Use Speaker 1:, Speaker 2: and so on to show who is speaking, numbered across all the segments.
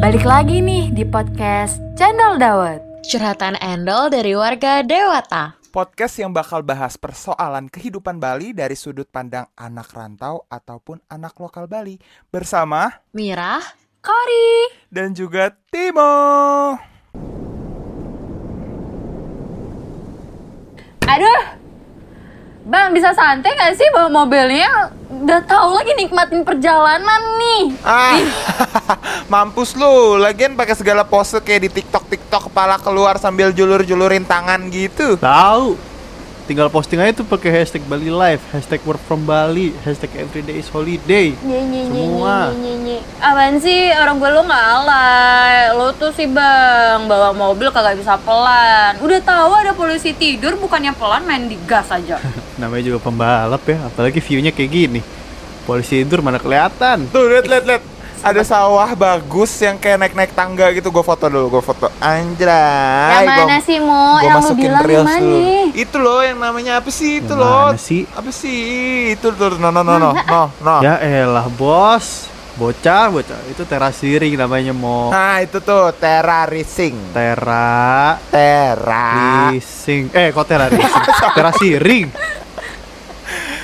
Speaker 1: Balik lagi nih di podcast Channel Dawet.
Speaker 2: Curhatan Endol dari warga Dewata.
Speaker 3: Podcast yang bakal bahas persoalan kehidupan Bali dari sudut pandang anak rantau ataupun anak lokal Bali bersama
Speaker 2: Mira,
Speaker 1: Kori.
Speaker 3: dan juga Timo.
Speaker 1: Aduh. Bang, bisa santai gak sih bawa mobilnya? Udah tahu lagi nikmatin perjalanan nih.
Speaker 3: Ah, mampus lu. Lagian pakai segala pose kayak di TikTok TikTok kepala keluar sambil julur-julurin tangan gitu.
Speaker 4: Tahu. Tinggal posting aja tuh pakai hashtag Bali Life, hashtag work from Bali, hashtag everyday is holiday.
Speaker 1: Nye, nye, nye, nye,
Speaker 4: Semua.
Speaker 1: nye, nye. Apaan sih? Orang gue lu gak alay. Lu tuh sih bang, bawa mobil kagak bisa pelan. Udah tahu ada polisi tidur, bukannya pelan main di gas aja.
Speaker 4: Namanya juga pembalap ya, apalagi view-nya kayak gini. Polisi tidur mana kelihatan.
Speaker 3: Tuh, lihat lihat lihat. Ada sawah bagus yang kayak naik-naik tangga gitu. Gue foto dulu, gue foto. Anjay.
Speaker 1: yang mana
Speaker 3: gua-
Speaker 1: sih, Mo?
Speaker 3: Gua
Speaker 1: Oh, Yang lu
Speaker 3: masukin
Speaker 1: bilang yang
Speaker 3: reels
Speaker 1: mana?
Speaker 3: dulu. Itu loh yang namanya apa sih itu
Speaker 4: Yang
Speaker 3: loh?
Speaker 4: mana sih?
Speaker 3: Apa sih? Itu tuh no no no no no no.
Speaker 4: Ya elah, Bos. Bocah, bocah. Itu terasiring namanya mau
Speaker 3: Nah, itu tuh Terra Racing.
Speaker 4: Tera
Speaker 3: Terra.
Speaker 4: leasing. Eh, kok tera leasing? terasiring.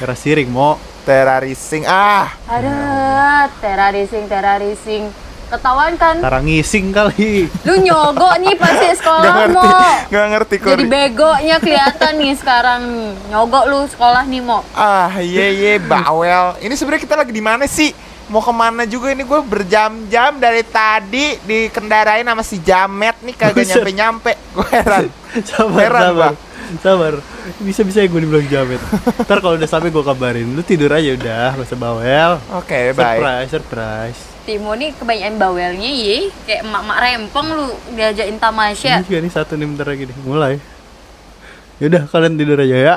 Speaker 4: Terasiring, Mo.
Speaker 3: Terra Racing. Ah,
Speaker 1: Ada terrorising, terrorising. Ketahuan kan?
Speaker 4: Tarangising kali.
Speaker 1: Lu nyogok nih pasti
Speaker 3: nggak
Speaker 1: sekolah Oh,
Speaker 3: ngerti.
Speaker 1: Mo.
Speaker 3: Nggak ngerti kok.
Speaker 1: Jadi begonya kelihatan nih sekarang nih. Nyogok lu sekolah nih, Mo.
Speaker 3: Ah, ye ye bawel. Ini sebenarnya kita lagi di mana sih? Mau kemana juga ini gue berjam-jam dari tadi dikendarain sama si Jamet nih kagak
Speaker 4: Buset.
Speaker 3: nyampe-nyampe. Gue heran.
Speaker 4: sabar,
Speaker 3: Heran,
Speaker 4: sabar.
Speaker 3: Bang.
Speaker 4: Sabar. Bisa-bisa gue dibilang jamet. Ntar kalau udah sampai gue kabarin. Lu tidur aja udah, gak usah bawel.
Speaker 3: Oke, baik.
Speaker 4: Surprise, surprise.
Speaker 1: Timo nih kebanyakan bawelnya ye, kayak emak-emak rempong lu diajakin
Speaker 4: Ini
Speaker 1: tamasya.
Speaker 3: Hmm.
Speaker 4: juga nih satu nih bentar lagi nih. Mulai. Yaudah, kalian tidur aja ya.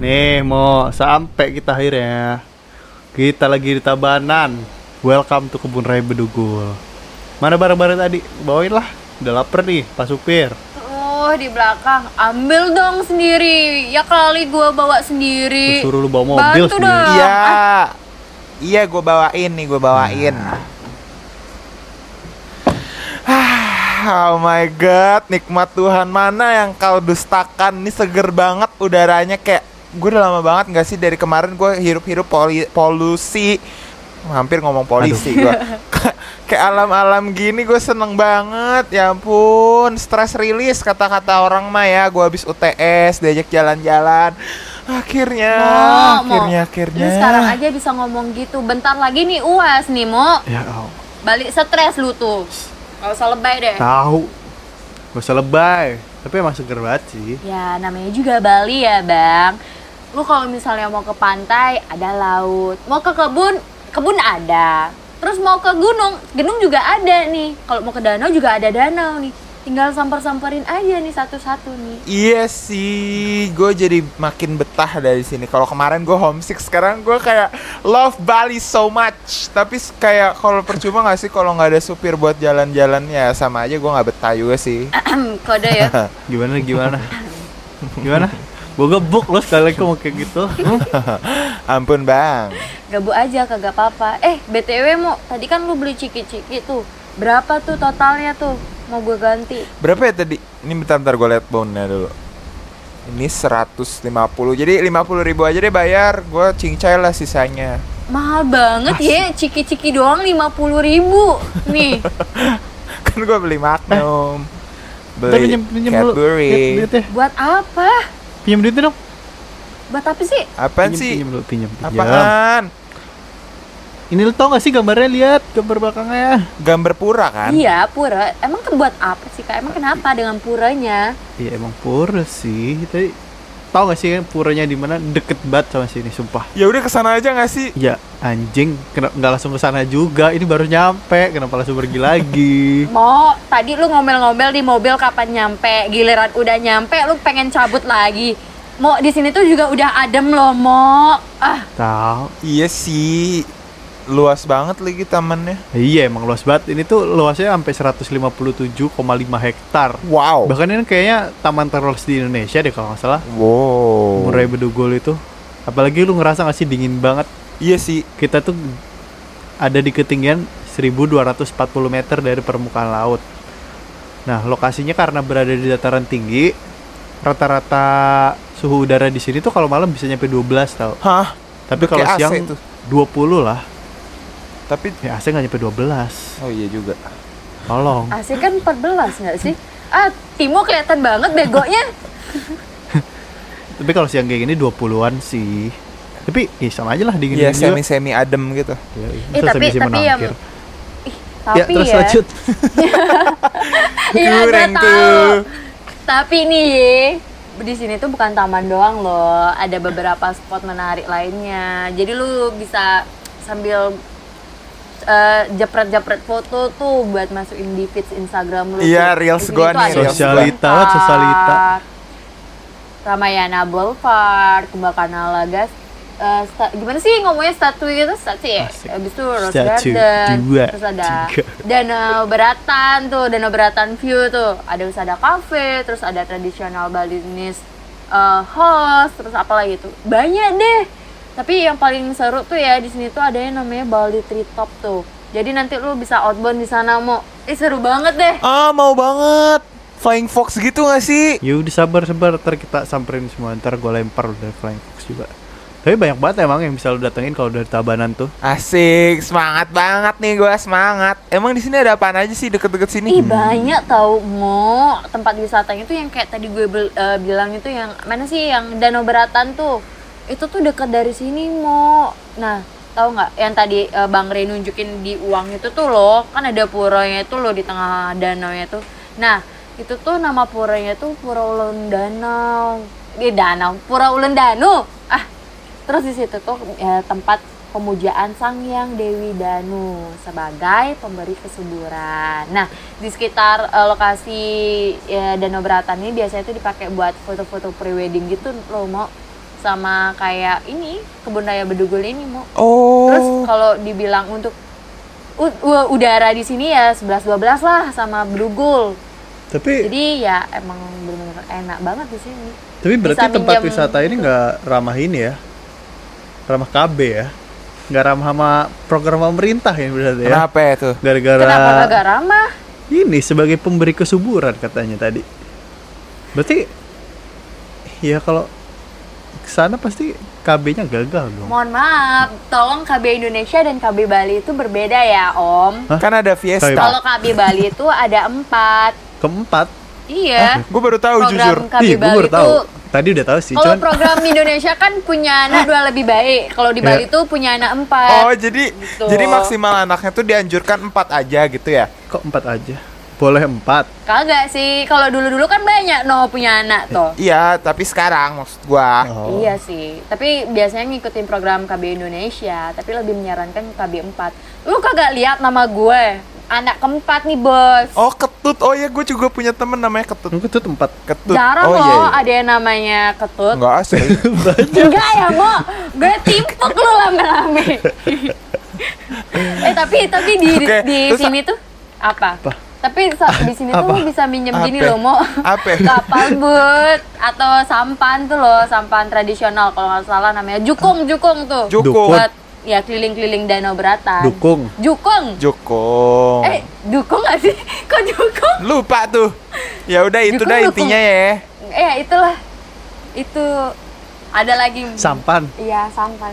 Speaker 4: Nih, mau sampai kita akhirnya. Kita lagi di Tabanan. Welcome to Kebun Raya Bedugul. Mana barang-barang tadi? Bawain lah. Udah lapar nih, Pak Supir.
Speaker 1: Tuh di belakang, ambil dong sendiri. Ya kali gua bawa sendiri.
Speaker 4: Gua suruh lu bawa mobil
Speaker 1: Bantu
Speaker 4: sendiri.
Speaker 1: dong.
Speaker 3: Iya. Iya, gue bawain nih, gue bawain.
Speaker 4: Nah.
Speaker 3: Ah, Oh my god, nikmat Tuhan mana yang kau dustakan? Ini seger banget udaranya kayak gue udah lama banget nggak sih dari kemarin gue hirup-hirup poli- polusi. Hampir ngomong polisi gue. kayak alam-alam gini gue seneng banget. Ya ampun, stress rilis kata-kata orang mah ya. Gue habis UTS diajak jalan-jalan. Akhirnya,
Speaker 1: Mo, Mo.
Speaker 3: Iya, akhirnya, akhirnya.
Speaker 1: Lu sekarang aja bisa ngomong gitu. Bentar lagi nih UAS nih, Mo.
Speaker 4: Ya Allah.
Speaker 1: Balik stres lu tuh. Gak usah lebay deh.
Speaker 4: Tahu. Gak usah lebay. Tapi emang seger banget sih.
Speaker 1: Ya, namanya juga Bali ya, Bang. Lu kalau misalnya mau ke pantai, ada laut. Mau ke kebun, kebun ada. Terus mau ke gunung, gunung juga ada nih. Kalau mau ke danau juga ada danau nih. Tinggal samper-samperin aja nih satu-satu nih.
Speaker 3: Iya sih, gue jadi makin betah dari sini. Kalau kemarin gue homesick, sekarang gue kayak love Bali so much. Tapi s- kayak kalau percuma gak sih kalau nggak ada supir buat jalan-jalan ya sama aja gue nggak betah juga sih.
Speaker 1: Kode ya.
Speaker 4: Gimana gimana? gimana? Gue gebuk lo sekali lagi mau kayak gitu.
Speaker 3: Ampun bang.
Speaker 1: Gabu aja kagak apa-apa. Eh, BTW mau tadi kan lu beli ciki-ciki tuh. Berapa tuh totalnya tuh? Mau gue ganti.
Speaker 3: Berapa ya tadi? Ini bentar-bentar gue liat bondnya dulu. Ini 150. Jadi 50 ribu aja deh bayar. Gue cincay lah sisanya.
Speaker 1: Mahal banget ya, ciki-ciki doang 50.000 ribu Nih,
Speaker 3: Kan gue beli Magnum.
Speaker 4: Ntar
Speaker 3: Beli
Speaker 4: dulu.
Speaker 3: Cadbury.
Speaker 4: Pinjam duitnya.
Speaker 1: buat apa?
Speaker 4: Pinjam duitnya dong.
Speaker 1: Buat apa sih?
Speaker 3: Apaan
Speaker 4: Pinjam,
Speaker 3: sih?
Speaker 4: Pinjam dulu, pinjam. pinjam.
Speaker 3: Apaan?
Speaker 4: Ini lo tau gak sih gambarnya? Lihat gambar belakangnya.
Speaker 3: Gambar pura kan?
Speaker 1: Iya, pura. Emang ke- buat apa sih, Kak?
Speaker 4: Kan?
Speaker 1: Emang kenapa dengan puranya?
Speaker 4: Iya emang pura sih. Tapi tau gak sih kan puranya di mana deket banget sama sini sumpah
Speaker 3: ya udah kesana aja nggak sih
Speaker 4: ya anjing kenapa nggak langsung ke sana juga ini baru nyampe kenapa langsung pergi lagi
Speaker 1: Mau, tadi lu ngomel-ngomel di mobil kapan nyampe, giliran udah nyampe lu pengen cabut lagi. Mo, di sini tuh juga udah adem loh, Mo. Ah,
Speaker 4: tahu
Speaker 3: iya sih luas banget lagi tamannya
Speaker 4: Iya emang luas banget. Ini tuh luasnya sampai 157,5 hektar.
Speaker 3: wow
Speaker 4: Bahkan ini kayaknya taman terluas di Indonesia deh kalau nggak salah.
Speaker 3: wow
Speaker 4: Murai Bedugul itu. Apalagi lu ngerasa nggak sih dingin banget
Speaker 3: Iya sih.
Speaker 4: Kita tuh ada di ketinggian 1240 meter dari permukaan laut. Nah, lokasinya karena berada di dataran tinggi, rata-rata suhu udara di sini tuh kalau malam bisa nyampe 12 tau.
Speaker 3: Hah?
Speaker 4: Tapi
Speaker 3: Udah
Speaker 4: kalau
Speaker 3: kayak AC
Speaker 4: siang
Speaker 3: tuh.
Speaker 4: 20 lah.
Speaker 3: Tapi
Speaker 4: Ya AC nggak nyampe 12.
Speaker 3: oh iya juga.
Speaker 4: Tolong.
Speaker 1: AC kan 14 nggak sih? Ah, Timo kelihatan banget begonya.
Speaker 4: Tapi kalau siang kayak gini 20-an sih. Tapi ya sama aja lah dingin
Speaker 3: Iya semi-semi adem gitu.
Speaker 1: Eh, tapi tapi yang Ih, tapi
Speaker 4: ya, terus
Speaker 1: ya.
Speaker 4: lanjut.
Speaker 1: Iya, gue
Speaker 3: Kurang
Speaker 1: tahu. Tapi nih, Ye, di sini tuh bukan taman doang loh. Ada beberapa spot menarik lainnya. Jadi lu bisa sambil eh, jepret-jepret foto tuh buat masukin di feeds Instagram lu.
Speaker 3: Iya,
Speaker 1: Di
Speaker 3: reels
Speaker 1: sini
Speaker 3: gua
Speaker 1: tuh
Speaker 3: nih,
Speaker 1: ada
Speaker 3: reels
Speaker 4: Sosialita,
Speaker 1: Boulevard,
Speaker 4: sosialita.
Speaker 1: Ramayana Boulevard, Kebakanala Gas. eh, sta- gimana sih ngomongnya statue itu statue ya?
Speaker 4: Asik.
Speaker 1: Abis itu Rose
Speaker 4: Statue,
Speaker 1: Garden,
Speaker 4: dua,
Speaker 1: terus ada
Speaker 4: tiga.
Speaker 1: Danau Beratan tuh, Danau Beratan View tuh. Ada ada cafe, terus ada tradisional Balinese eh, house, terus apa lagi tuh. Banyak deh. Tapi yang paling seru tuh ya di sini tuh ada yang namanya Bali Tree Top tuh. Jadi nanti lu bisa outbound di sana mau. Eh seru banget deh.
Speaker 3: Ah, mau banget. Flying Fox gitu gak sih?
Speaker 4: Yuk disabar sabar ntar kita samperin semua ntar gue lempar dari Flying Fox juga. Tapi banyak banget emang yang bisa lu datengin kalau dari Tabanan tuh.
Speaker 3: Asik, semangat banget nih gua semangat. Emang di sini ada apaan aja sih deket-deket sini?
Speaker 1: Ih banyak tau mau tempat wisatanya tuh yang kayak tadi gue bel- eh, bilang itu yang mana sih yang Danau Beratan tuh itu tuh dekat dari sini mau nah tahu nggak yang tadi eh, Bang Rey nunjukin di uang itu tuh loh kan ada puronya itu loh di tengah danau nya tuh nah itu tuh nama puronya tuh Pura Ulun Danau di danau Pura Ulun Danu ah Terus di situ tuh eh, tempat pemujaan Sang Hyang Dewi Danu sebagai pemberi kesuburan. Nah, di sekitar eh, lokasi eh, Danau Beratan ini biasanya itu dipakai buat foto-foto prewedding gitu loh, mau sama kayak ini kebun raya Bedugul ini, mau.
Speaker 3: Oh.
Speaker 1: Terus kalau dibilang untuk u- u- udara di sini ya 11-12 lah sama Bedugul.
Speaker 4: Tapi
Speaker 1: Jadi ya emang bener-bener enak banget di sini.
Speaker 4: tapi berarti
Speaker 1: bisa
Speaker 4: tempat
Speaker 1: minjem
Speaker 4: wisata ini nggak ramah ini ya, ramah KB ya, nggak ramah sama program pemerintah ya berarti ya.
Speaker 3: Kenapa ya tuh?
Speaker 1: Kenapa
Speaker 4: Gara-gara
Speaker 1: kagak ramah?
Speaker 4: ini sebagai pemberi kesuburan katanya tadi. Berarti ya kalau kesana pasti KB-nya gagal dong.
Speaker 1: Mohon maaf, tolong KB Indonesia dan KB Bali itu berbeda ya, Om.
Speaker 4: Hah?
Speaker 3: Kan ada Fiesta.
Speaker 4: Sorry,
Speaker 1: Kalau KB Bali itu ada empat.
Speaker 4: Keempat,
Speaker 1: Iya.
Speaker 3: Gue baru tahu
Speaker 1: Program
Speaker 3: jujur.
Speaker 1: KB
Speaker 4: Ih, gua
Speaker 1: Bali
Speaker 4: baru tahu.
Speaker 1: itu
Speaker 4: Tadi udah tahu sih,
Speaker 1: kalau
Speaker 4: cuman
Speaker 1: program Indonesia kan punya anak dua lebih baik. Kalau di
Speaker 4: Ya.
Speaker 1: Bali itu punya anak
Speaker 3: Oh,
Speaker 1: empat.
Speaker 3: jadi
Speaker 1: Gitu.
Speaker 3: jadi maksimal anaknya tuh dianjurkan empat aja gitu ya.
Speaker 4: kok empat aja? Boleh empat.
Speaker 1: Kagak sih. Kalau dulu-dulu kan banyak no punya anak tuh.
Speaker 3: Iya, tapi sekarang maksud gua.
Speaker 4: Oh.
Speaker 1: Iya sih, tapi biasanya ngikutin program KB Indonesia, tapi lebih menyarankan KB 4. Lu kagak lihat nama gue, anak keempat nih bos.
Speaker 3: Oh, ketut. Oh iya, gue juga punya temen namanya ketut.
Speaker 4: Mungkin tuh tempat
Speaker 3: Ketut.
Speaker 1: Jarang
Speaker 3: oh
Speaker 1: loh
Speaker 3: iya. iya.
Speaker 1: ada yang namanya ketut.
Speaker 3: Enggak asli.
Speaker 1: Enggak ya, Mo. Gue timpuk lu lame-lame. eh, tapi tapi di
Speaker 3: Oke,
Speaker 1: di
Speaker 3: terus-
Speaker 1: sini tuh apa?
Speaker 4: Apa?
Speaker 1: Tapi sa- di sini tuh
Speaker 4: Apa?
Speaker 1: lu bisa minjem gini
Speaker 3: Apa?
Speaker 1: loh, Mo.
Speaker 3: Apa?
Speaker 1: Kapal but atau sampan tuh loh, sampan tradisional kalau nggak salah namanya. Jukung, jukung tuh.
Speaker 3: Jukung.
Speaker 1: Buat ya keliling-keliling Danau Beratan.
Speaker 4: dukung.
Speaker 1: Jukung.
Speaker 3: Jukung.
Speaker 1: Eh, dukung gak sih? Kok jukung?
Speaker 3: Lupa tuh. Ya udah itu
Speaker 1: Jukung,
Speaker 3: dah
Speaker 1: Jukung.
Speaker 3: intinya ya.
Speaker 1: Eh, itulah. Itu ada lagi
Speaker 4: Sampan.
Speaker 1: Iya sampan.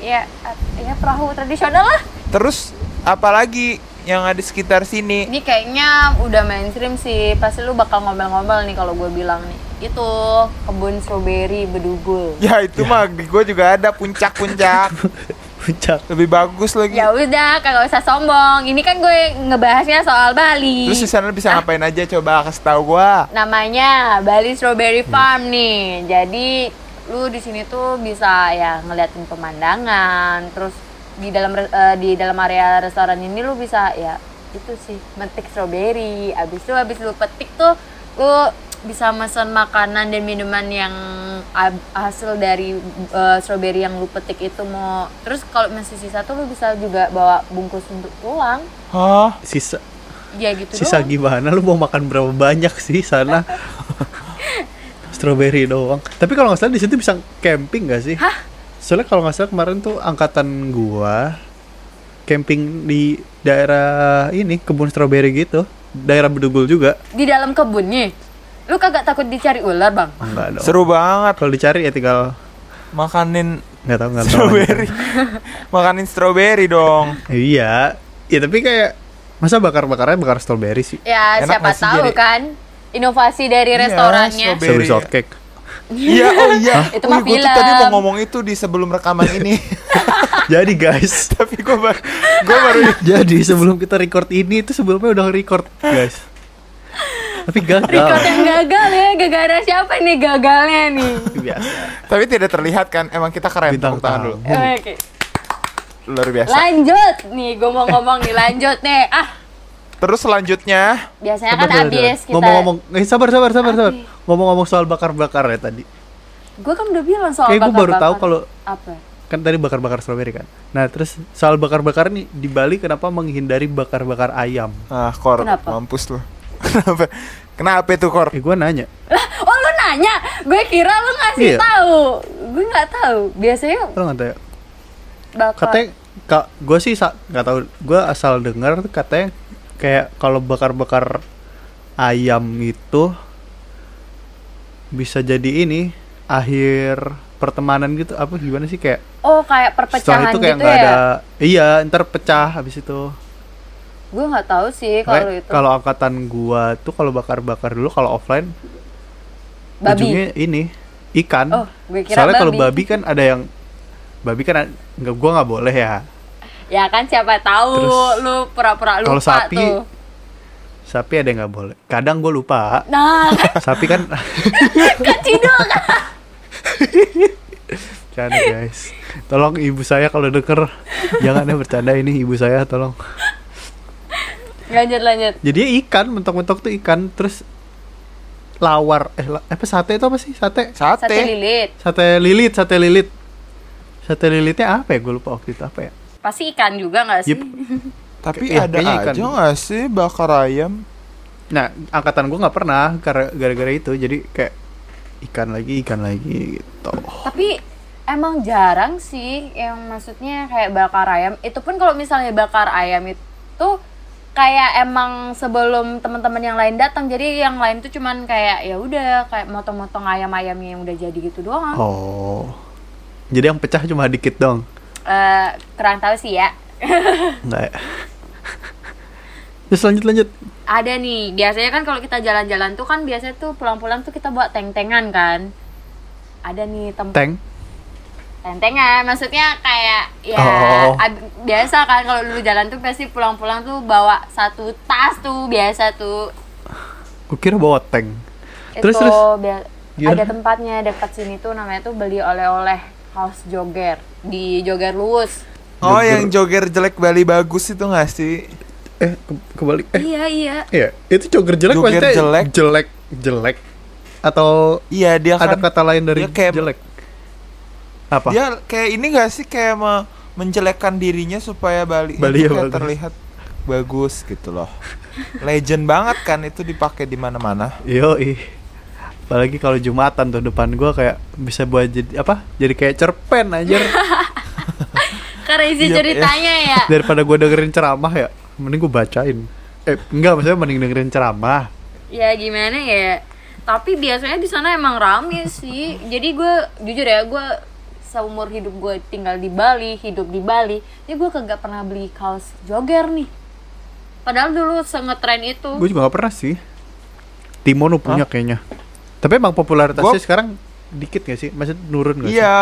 Speaker 1: Iya, eh, ya perahu tradisional lah.
Speaker 3: Terus apalagi yang ada di sekitar sini?
Speaker 1: Ini kayaknya udah mainstream sih. Pasti lu bakal ngomel-ngomel nih kalau gue bilang nih. Itu kebun strawberry bedugul.
Speaker 3: Ya itu mah gue juga ada puncak-puncak.
Speaker 4: Puncak.
Speaker 3: Lebih bagus lagi.
Speaker 1: Ya udah, kagak usah sombong. Ini kan gue ngebahasnya soal Bali.
Speaker 3: Terus di sana lu
Speaker 1: Ah.
Speaker 3: bisa ngapain aja coba kasih tahu gua.
Speaker 1: Namanya Bali Strawberry Farm nih. Jadi lu di sini tuh bisa ya ngeliatin pemandangan. Terus di dalam re- eh, di dalam area restoran ini lu bisa ya itu sih metik strawberry. Abis itu abis lu petik tuh lu bisa mesen makanan dan minuman yang ab- hasil dari eh, strawberry yang lu petik itu mau. Terus kalau masih sisa tuh lu bisa juga bawa bungkus untuk pulang.
Speaker 3: Hah?
Speaker 4: Sisa
Speaker 1: Ya gitu
Speaker 4: sisa
Speaker 1: doang.
Speaker 4: gimana? Lu mau makan berapa banyak sih sana? Strawberry doang. Tapi kalau nggak salah di situ bisa camping gak sih?
Speaker 1: Hah?
Speaker 4: Soalnya kalau nggak salah kemarin tuh angkatan gua camping di daerah ini kebun stroberi gitu, daerah Bedugul juga.
Speaker 1: Di dalam kebunnya. Lu kagak takut dicari ular, Bang?
Speaker 4: Enggak dong.
Speaker 3: Seru banget
Speaker 4: Kalau dicari ya tinggal
Speaker 3: makanin
Speaker 4: nggak tahu nggak tahu.
Speaker 3: strawberry. makanin strawberry dong.
Speaker 4: Iya. Ya tapi kayak masa bakar-bakarnya bakar stroberi sih.
Speaker 1: Ya,
Speaker 3: Enak
Speaker 1: siapa
Speaker 3: nggak sih
Speaker 1: tahu
Speaker 3: jadi-
Speaker 1: kan inovasi dari
Speaker 3: Iya,
Speaker 1: restorannya.
Speaker 3: strawberry.
Speaker 4: Strawberry shortcake.
Speaker 3: Iya, oh iya.
Speaker 1: Itu mah
Speaker 3: gue tuh tadi
Speaker 1: film.
Speaker 3: mau ngomong itu di sebelum rekaman ini.
Speaker 4: Jadi guys,
Speaker 3: Tapi gue baru gue baru
Speaker 4: jadi sebelum kita record ini itu sebelumnya udah record guys. Tapi
Speaker 1: Record
Speaker 4: gagal.
Speaker 1: yang gagal ya, gara-gara siapa nih gagalnya nih?
Speaker 4: Biasa.
Speaker 3: tapi tidak terlihat kan emang kita keren
Speaker 4: Bintang
Speaker 3: tepuk tangan
Speaker 4: tamu.
Speaker 3: dulu.
Speaker 1: Oke.
Speaker 3: Luar biasa.
Speaker 1: Lanjut nih, gue mau ngomong nih, lanjut nih. Ah,
Speaker 3: Terus selanjutnya
Speaker 1: biasanya kan
Speaker 4: Sabar, sabar,
Speaker 1: abis
Speaker 4: sabar.
Speaker 1: kita
Speaker 4: Ngomong-ngomong, eh, sabar, sabar, sabar, sabar. Ngomong-ngomong soal bakar-bakar ya tadi.
Speaker 1: Gue kan udah bilang soal
Speaker 4: Kayak gue baru
Speaker 1: bakar-bakar.
Speaker 4: tahu kalau
Speaker 1: Apa?
Speaker 4: kan tadi bakar-bakar stroberi kan. Nah terus soal bakar-bakar nih di Bali kenapa menghindari bakar-bakar ayam?
Speaker 3: ah kor
Speaker 1: Kenapa?
Speaker 3: mampus lu. Kenapa? Kenapa itu kor?
Speaker 4: Eh gue nanya.
Speaker 1: Oh lu nanya, gue kira lu ngasih
Speaker 4: Iya.
Speaker 1: tahu. Gue nggak tahu. Biasanya
Speaker 4: Lo nggak tanya?
Speaker 1: bakar.
Speaker 4: Katanya kak gue sih sa- nggak tahu. Gue asal dengar tuh katanya kayak kalau bakar-bakar ayam itu bisa jadi ini akhir pertemanan gitu apa gimana sih kayak
Speaker 1: oh kayak
Speaker 4: setelah
Speaker 1: perpecahan
Speaker 4: itu kayak
Speaker 1: gitu
Speaker 4: nggak
Speaker 1: ya?
Speaker 4: ada iya ntar pecah habis itu
Speaker 1: Gue nggak tahu sih Iya, kalau
Speaker 4: Kayak
Speaker 1: itu.
Speaker 4: kalau angkatan gua tuh kalau bakar-bakar dulu kalau offline
Speaker 1: Babi.
Speaker 4: ujungnya ini ikan.
Speaker 1: Oh, gue kira
Speaker 4: Soalnya kalau
Speaker 1: babi.
Speaker 4: babi kan ada yang babi kan ad- nggak gua nggak boleh ya.
Speaker 1: Ya kan siapa tahu
Speaker 4: Terus,
Speaker 1: lu pura-pura lupa
Speaker 4: kalau sapi-
Speaker 1: tuh.
Speaker 4: Sapi ada yang nggak boleh. Kadang gua lupa.
Speaker 1: Nah, kan
Speaker 4: Sapi kan
Speaker 1: kacidul kan.
Speaker 4: bercanda guys. Tolong ibu saya kalau denger jangan ada bercanda ini ibu saya tolong.
Speaker 1: Lanjut lanjut.
Speaker 4: Jadi ikan mentok-mentok tuh ikan terus lawar eh la- apa sate itu apa sih sate
Speaker 3: Sate.
Speaker 1: Sate lilit.
Speaker 4: sate lilit sate lilit sate lilitnya apa ya gue lupa waktu itu apa ya
Speaker 1: Pasti ikan juga nggak sih?
Speaker 4: Yep.
Speaker 3: Tapi
Speaker 4: Iya,
Speaker 3: ada
Speaker 4: kayaknya ikan.
Speaker 3: aja nggak sih bakar ayam?
Speaker 4: Nah, angkatan gue nggak pernah gara- gara-gara itu. Jadi kayak ikan lagi, ikan lagi gitu.
Speaker 1: Tapi emang jarang sih yang maksudnya kayak bakar ayam. Itu pun kalau misalnya bakar ayam itu kayak emang sebelum teman-teman yang lain datang. Jadi yang lain tuh cuman kayak ya udah kayak motong-motong ayam-ayamnya yang udah jadi gitu doang.
Speaker 4: Oh. Jadi yang pecah cuma dikit dong.
Speaker 1: Eh, kurang tahu sih ya.
Speaker 4: Enggak ya. Terus lanjut lanjut.
Speaker 1: Ada nih, biasanya kan kalau kita jalan-jalan tuh kan biasanya tuh pulang-pulang tuh kita bawa teng-tengan kan. Ada nih tempat
Speaker 4: Tank.
Speaker 1: tentengan maksudnya kayak ya
Speaker 4: Oh.
Speaker 1: ab- biasa kan kalau dulu jalan tuh pasti pulang-pulang tuh bawa satu tas tuh biasa tuh
Speaker 4: Gue kira bawa tank. Terus
Speaker 1: itu
Speaker 4: terus.
Speaker 1: bia-
Speaker 4: Gimana?
Speaker 1: ada tempatnya dekat sini tuh namanya tuh beli oleh-oleh house joger di joger luwus
Speaker 3: Oh
Speaker 4: Joger.
Speaker 3: yang joger jelek Bali bagus itu nggak sih?
Speaker 4: Eh ke- kebalik. Eh
Speaker 1: iya iya
Speaker 4: iya. Itu joger jelek
Speaker 3: Joger
Speaker 4: maksudnya
Speaker 3: jelek.
Speaker 4: jelek jelek. Atau
Speaker 3: Iya dia
Speaker 4: ada
Speaker 3: kan
Speaker 4: kata lain dari
Speaker 3: dia kayak- Ya.
Speaker 4: jelek? Apa?
Speaker 3: dia kayak ini nggak sih kayak me- menjelekkan dirinya supaya Bali,
Speaker 4: Bali
Speaker 3: itu
Speaker 4: ya
Speaker 3: kayak
Speaker 4: bagus.
Speaker 3: terlihat bagus gitu loh. Legend banget kan itu dipakai di mana-mana.
Speaker 4: Yo Apalagi kalau Jumatan tuh depan gua kayak bisa buat jadi apa? Jadi kayak cerpen anjir.
Speaker 1: karena isi
Speaker 3: Iya,
Speaker 1: ceritanya
Speaker 4: eh.
Speaker 1: ya
Speaker 4: Daripada gua dengerin ceramah ya, mending gua bacain. Eh, enggak maksudnya mending dengerin ceramah.
Speaker 1: ya gimana ya tapi biasanya di sana emang rame sih jadi gue jujur ya gue seumur hidup gue tinggal di Bali hidup di Bali jadi gue kagak pernah beli kaos jogger nih padahal dulu sengetren itu
Speaker 4: Gua juga gak pernah sih. Timono punya kayaknya. Tapi emang popularitasnya
Speaker 3: Gua-
Speaker 4: sekarang dikit gak sih? Maksudnya nurun gak sih?
Speaker 3: Iya.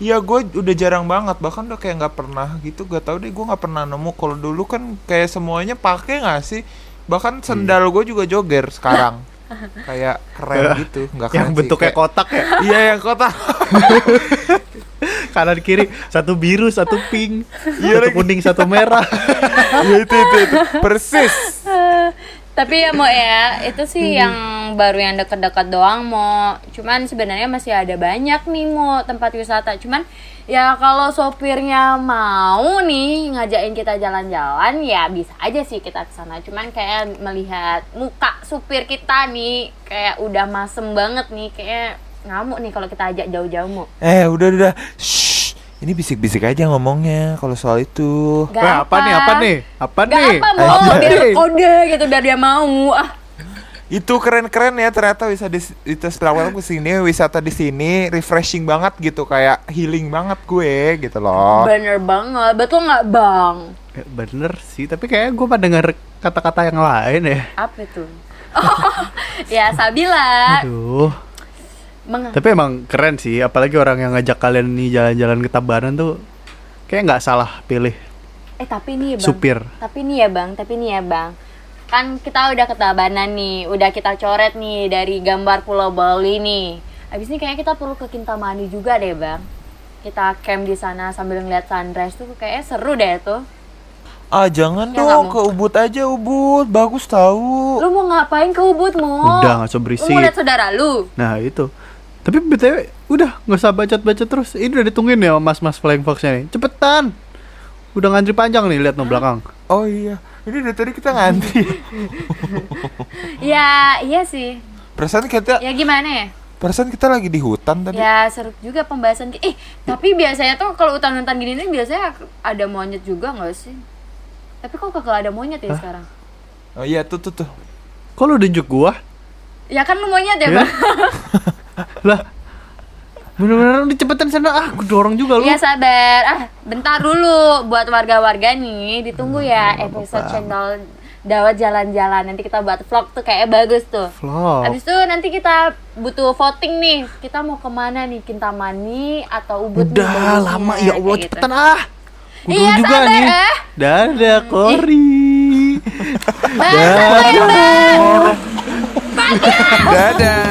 Speaker 3: Iya gue udah jarang banget bahkan udah kayak nggak pernah gitu gak tau deh gue nggak pernah nemu kalau dulu kan kayak semuanya pakai nggak sih
Speaker 4: Iya.
Speaker 3: bahkan sendal gue juga joger sekarang kayak keren gitu nggak keren
Speaker 4: Iya. Yang
Speaker 3: sih,
Speaker 4: bentuknya
Speaker 3: kayak-
Speaker 4: kotak ya,
Speaker 3: iya yang kotak
Speaker 4: kanan kiri satu biru, satu pink,
Speaker 3: Iya
Speaker 4: satu
Speaker 3: lagi.
Speaker 4: kuning, satu merah.
Speaker 3: Iya, itu, itu, itu. persis
Speaker 1: Eh, tapi ya mau ya itu sih
Speaker 4: Hmm.
Speaker 1: yang baru yang deket-deket doang mau cuman sebenarnya masih ada banyak nih mau tempat wisata cuman ya kalau sopirnya mau nih ngajakin kita jalan-jalan ya bisa aja sih kita ke sana cuman kayak melihat muka supir kita nih kayak udah masem banget nih kayak ngamuk nih kalau kita ajak jauh-jauh mau
Speaker 3: eh udah udah Shh. Ini bisik-bisik aja ngomongnya kalau soal itu.
Speaker 1: Gak
Speaker 4: Wah, apa nih? Apa nih? Apa
Speaker 1: Gak
Speaker 4: nih?
Speaker 1: apa mau
Speaker 4: Apa
Speaker 1: biar
Speaker 4: nih?
Speaker 1: kode gitu biar dia mau ah
Speaker 3: Itu keren-keren ya ternyata bisa di itu setelah aku sini wisata di sini refreshing banget gitu kayak healing banget gue gitu loh.
Speaker 1: bener banget betul nggak bang
Speaker 4: Eh, Bener sih, tapi kayaknya gue pada denger kata-kata yang lain ya.
Speaker 1: apa itu oh, ya Sabila
Speaker 4: Aduh.
Speaker 1: meng
Speaker 4: Tapi emang keren sih, apalagi orang yang ngajak kalian nih jalan-jalan ke Tabanan tuh kayak nggak salah pilih
Speaker 1: eh tapi nih ya, bang
Speaker 4: supir.
Speaker 1: Tapi nih ya bang, tapi nih ya bang Kan kita udah ketabanan nih, udah kita coret nih dari gambar Pulau Bali nih Abis ini kayaknya kita perlu ke Kintamani juga deh bang Kita camp di sana sambil ngeliat sunrise tuh kayaknya seru deh tuh
Speaker 3: Ah jangan
Speaker 1: Ya,
Speaker 3: dong
Speaker 1: nggak mau.
Speaker 3: ke Ubud aja Ubud bagus tahu.
Speaker 1: Lu mau ngapain ke Ubud mau?
Speaker 4: Udah, nggak usah
Speaker 1: Lu
Speaker 4: berisik.
Speaker 1: mau liat saudara lu?
Speaker 4: Nah itu. Tapi btw, udah nggak usah bacot-bacot terus. Ini udah ditungguin ya sama mas-mas Flying Fox-nya nih. Cepetan. Udah ngantri panjang nih lihat no belakang.
Speaker 3: Oh iya ini dari tadi kita ngantri.
Speaker 1: Ya iya sih
Speaker 3: perasaan kita
Speaker 1: Ya gimana ya?
Speaker 3: perasaan kita lagi di hutan tadi.
Speaker 1: Ya seru juga pembahasan ki- Ih, tapi biasanya tuh kalau hutan-hutan gini nih biasanya ada monyet juga nggak sih? Tapi kok kagak ada monyet ya sekarang?
Speaker 3: Oh iya tuh tuh tuh.
Speaker 4: Kok lu dijuk gua?
Speaker 1: Ya kan lu monyet ya
Speaker 4: Ya?
Speaker 1: bang?
Speaker 4: lah. Bener-bener lu cepetan sana ah, gua dorong juga lu.
Speaker 1: Iya sabar, ah bentar dulu buat warga-warga nih ditunggu
Speaker 4: Hmm,
Speaker 1: ya episode channel Dawat Jalan-Jalan nanti kita buat vlog tuh kayak bagus tuh.
Speaker 4: Vlog.
Speaker 1: Habis itu nanti kita butuh voting nih, kita mau kemana nih Kintamani atau Ubud? nih bagusnya,
Speaker 4: Udah lama ya
Speaker 1: kayak
Speaker 4: Allah
Speaker 1: gitu.
Speaker 4: cepetan ah. Gua
Speaker 1: Iya,
Speaker 4: dorong juga
Speaker 1: sabar,
Speaker 4: nih.
Speaker 1: eh.
Speaker 4: Dadah Kori.
Speaker 1: Bye.
Speaker 4: Dadah.
Speaker 3: Dadah.